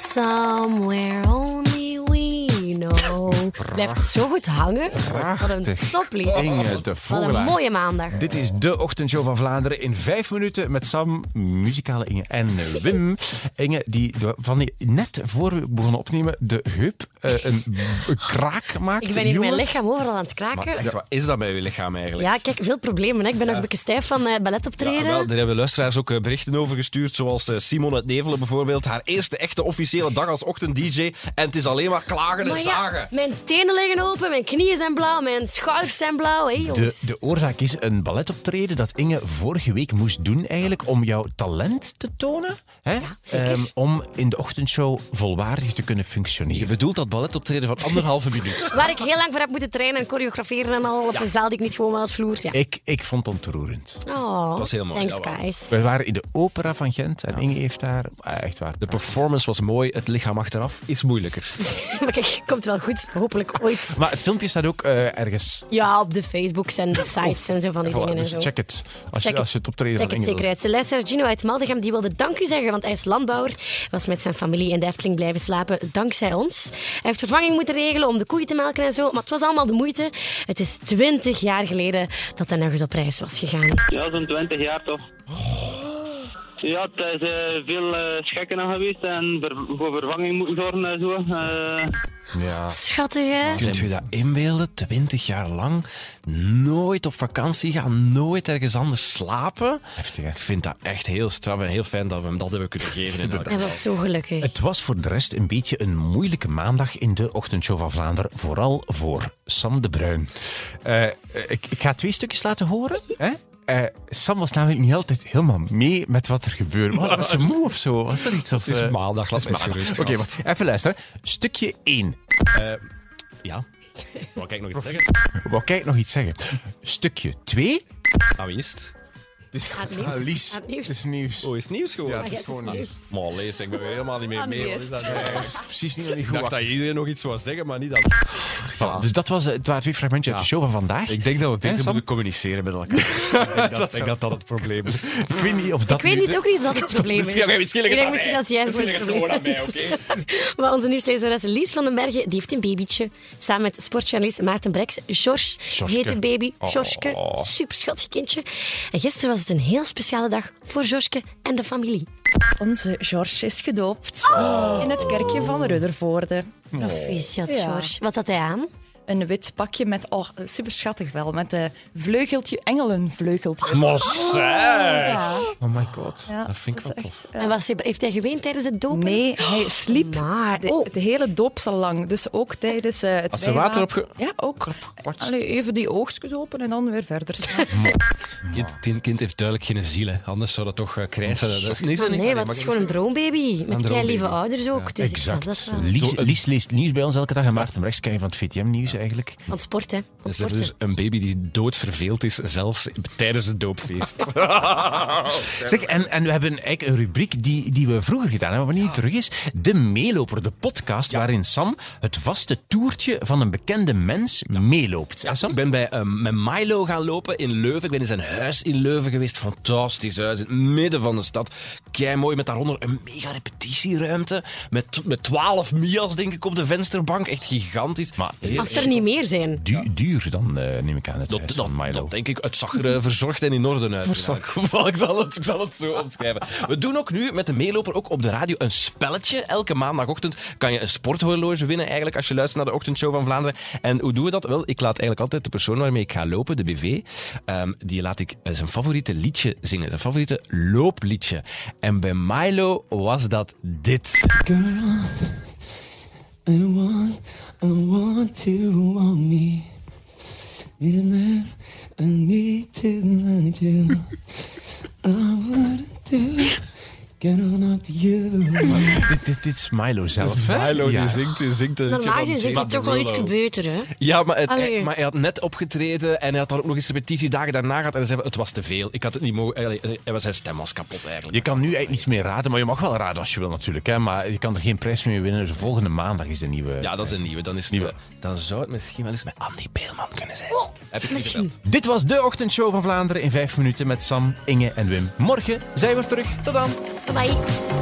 Somewhere only we know. Blijft zo goed hangen. Wat een Prachtig. toplied. Inge de Wat een Voogelaar. mooie maandag. Dit is de ochtendshow van Vlaanderen in vijf minuten met Sam, muzikale Inge en eh, Wim. Inge, die van die net voor we begonnen opnemen de heup eh, een, een kraak maakt. Ik ben hier mijn Jongen. lichaam overal aan het kraken. Echt, wat is dat bij uw lichaam eigenlijk? Ja, kijk, veel problemen. hè. Ik ben nog een beetje stijf van eh ballet optreden. wel, daar hebben luisteraars ook eh, berichten over gestuurd, zoals eh, Simon uit Nevelen bijvoorbeeld. Haar eerste echte officiële dag als ochtend-dj en het is alleen maar klagen en Maar ja, zagen. mijn tenen liggen open, mijn knieën zijn blauw, mijn schouders zijn blauw. Hey, De, jongens. de oorzaak is een balletoptreden dat Inge vorige week moest doen eigenlijk om jouw talent te tonen. Hè? zeker. Ehm, om in de ochtendshow volwaardig te kunnen Je functioneren. bedoelt dat balletoptreden van anderhalve minuut. Waar ik heel lang voor heb moeten trainen en choreograferen en al op een zaal die ik niet gewoon wel als vloer. Ja. Ik, ik vond het ontroerend. Oh, was heel mooi, Thanks, jawel. guys. We waren in de opera van Gent en Inge heeft daar... ah, echt waar. De performance was mooi, het lichaam achteraf is moeilijker. Maar kijk, komt wel goed. Hopelijk ooit. Maar het filmpje staat ook eh, ergens. Ja, op de Facebooks en de sites en zo van die Voilà, dingen en dus zo. check het. Check Als, je, het. als je het optreden Check van het Inge zeker wilt. uit. Ze Luisteraar Gino uit Maldegem die wilde dank u zeggen, want hij is landbouwer. Hij was met zijn familie in de Efteling blijven slapen, dankzij ons. Hij heeft vervanging moeten regelen om de koeien te melken en zo, maar het was allemaal de moeite. Het is twintig jaar geleden dat hij nog eens op reis was gegaan. Ja, zo'n 20 jaar toch. Ja, het is eh, veel eh, schekken aan geweest en ver- voor vervanging moeten zorgen en zo. Eh, Ja. Schattig, hè? Kunt u dat inbeelden? Twintig jaar lang, nooit op vakantie gaan, nooit ergens anders slapen. Heftig, hè? Ik vind dat echt heel straf en heel fijn dat we hem dat hebben kunnen geven. in Hij was zo gelukkig. Het was voor de rest een beetje een moeilijke maandag in de ochtendshow van Vlaanderen. Vooral voor Sam de Bruin. Eh, ik, ik ga twee stukjes laten horen. Hè? Eh, Sam was namelijk niet altijd helemaal mee met wat er gebeurde. Was, was ze moe of zo? Was er iets? Of, Het is eh, maandag, laat het is mij eens maandag. gerust, Oké, gast. maar even luisteren. Stukje 1. Eh, Ja. Wou kijk nog iets zeggen? Wou kijk nog iets zeggen. Stukje 2. Ah, wie is het? Het is het nieuws. Ah, Lies. Aan het nieuws. Het is nieuws. Oh, is het nieuws gewoon? het is gewoon nieuws. Maar lees, ik ben weer helemaal niet meer mee. Wat is dat nou? Dat is precies niet, niet Ik goed. dacht dat iedereen nog iets wou zeggen, maar niet dat. Voilà, Dus dat was, eh, het waren twee fragmentjes uit de show van vandaag. denk dat we beter moeten communiceren met elkaar. ik denk dat ik dat, dat het probleem is. Ik weet niet of dat Ik weet nu niet ook niet of dat het probleem is. Misschien, misschien ligt ik het denk aan misschien mij. dat jij het Misschien voor het ligt het probleem gewoon aan mij, is. Maar onze nieuwslezeres Lies van den Bergen die heeft een babytje. Samen met sportjournalist Maarten Breks. George Georgeske. heet de baby. Oh. Georgeske, superschattig kindje. En gisteren was het een heel speciale dag voor Georgeske en de familie. Oh. Onze George is gedoopt in het kerkje van Ruddervoorde. Proficiat, Ja. George. Wat had hij aan? Een wit pakje met, oh, super schattig wel, met eh vleugeltje, engelenvleugeltjes. Mos. Ja, Oh my god. Ah, ja, Dat vind ik wel is tof. echt, En was hij, heeft hij geweend tijdens het dopen? Nee, hij sliep Maar, de, oh. de hele doopsel lang. Dus ook tijdens eh, het Had ze water wijwater- opge- Ja, ook. Allee, even die oogstjes open en dan weer verder slapen. Kind, dit kind heeft duidelijk geen ziel, hè. anders zou dat toch eh, krijsen. Dat is niet zo Ah, nee, want het is gewoon een droombaby. Met droombaby. kleine lieve ouders ook. Dus ik snap dat Exact. wel. Lies, Lies leest nieuws bij ons elke dag en Maarten Rechts kijken van het VTM-nieuws eigenlijk. Aan het sporten. hè. Aan het Dus er is sporten. dus een baby die doodverveeld is, zelfs tijdens het doopfeest. Zeg, en, en we hebben eigenlijk een rubriek die, die we vroeger gedaan hebben, maar nu terug is. De Meeloper, de podcast waarin Sam het vaste toertje van een bekende mens meeloopt. Hè, Sam? Ik ben bij ehm, met Milo gaan lopen in Leuven. Ik ben in zijn huis in Leuven geweest. Fantastisch huis, in het midden van de stad. Kei mooi, met daaronder een mega repetitieruimte. Met, met 12 Mia's, denk ik, op de vensterbank. Echt gigantisch. Maar heel Als er niet meer zijn. Du- duur dan, eh, neem ik aan, het dat, huis dat, van Milo. dat denk ik, het zag er eh, verzorgd en in orde uit. In elk geval, ik zal, het, ik zal het zo omschrijven. We doen ook nu met de meeloper ook op de radio een spelletje. Elke maandagochtend kan je een sporthorloge winnen eigenlijk als je luistert naar de ochtendshow van Vlaanderen. En hoe doen we dat? Wel, ik laat eigenlijk altijd de persoon waarmee ik ga lopen, de BV, ehm, die laat ik eh, zijn favoriete liedje zingen. Zijn favoriete loopliedje. En bij Milo was dat dit. I want, I want to want me. Need a man, I need to mind you. I wouldn't do, get on up to you. Dit, dit, dit is Milo zelf. hè? Ja. zingt, die zingt een Normaal gezien zit het toch wel iets beter, hè? Ja, maar, het, Allee. hij, maar hij had net opgetreden en hij had dan ook nog eens repetitiedagen daarna gehad. En hij zei, het was te veel. Ik had het niet mogen... allee, eh, hij was- Zijn stem was kapot eigenlijk. Je kan nu eigenlijk niets meer raden, maar je mag wel raden als je wil natuurlijk. Hè? Maar je kan er geen prijs meer winnen. Dus volgende maandag is de nieuwe. Ja, dat is een nieuwe. Dan, is het, Nieuwe. eh, dan zou het misschien wel eens met Andy Beelman kunnen zijn. Heb ik Oh, misschien. gezegd. Dit was de ochtendshow van Vlaanderen in 5 minuten met Sam, Inge en Wim. Morgen zijn we er terug. Tot dan. Bye.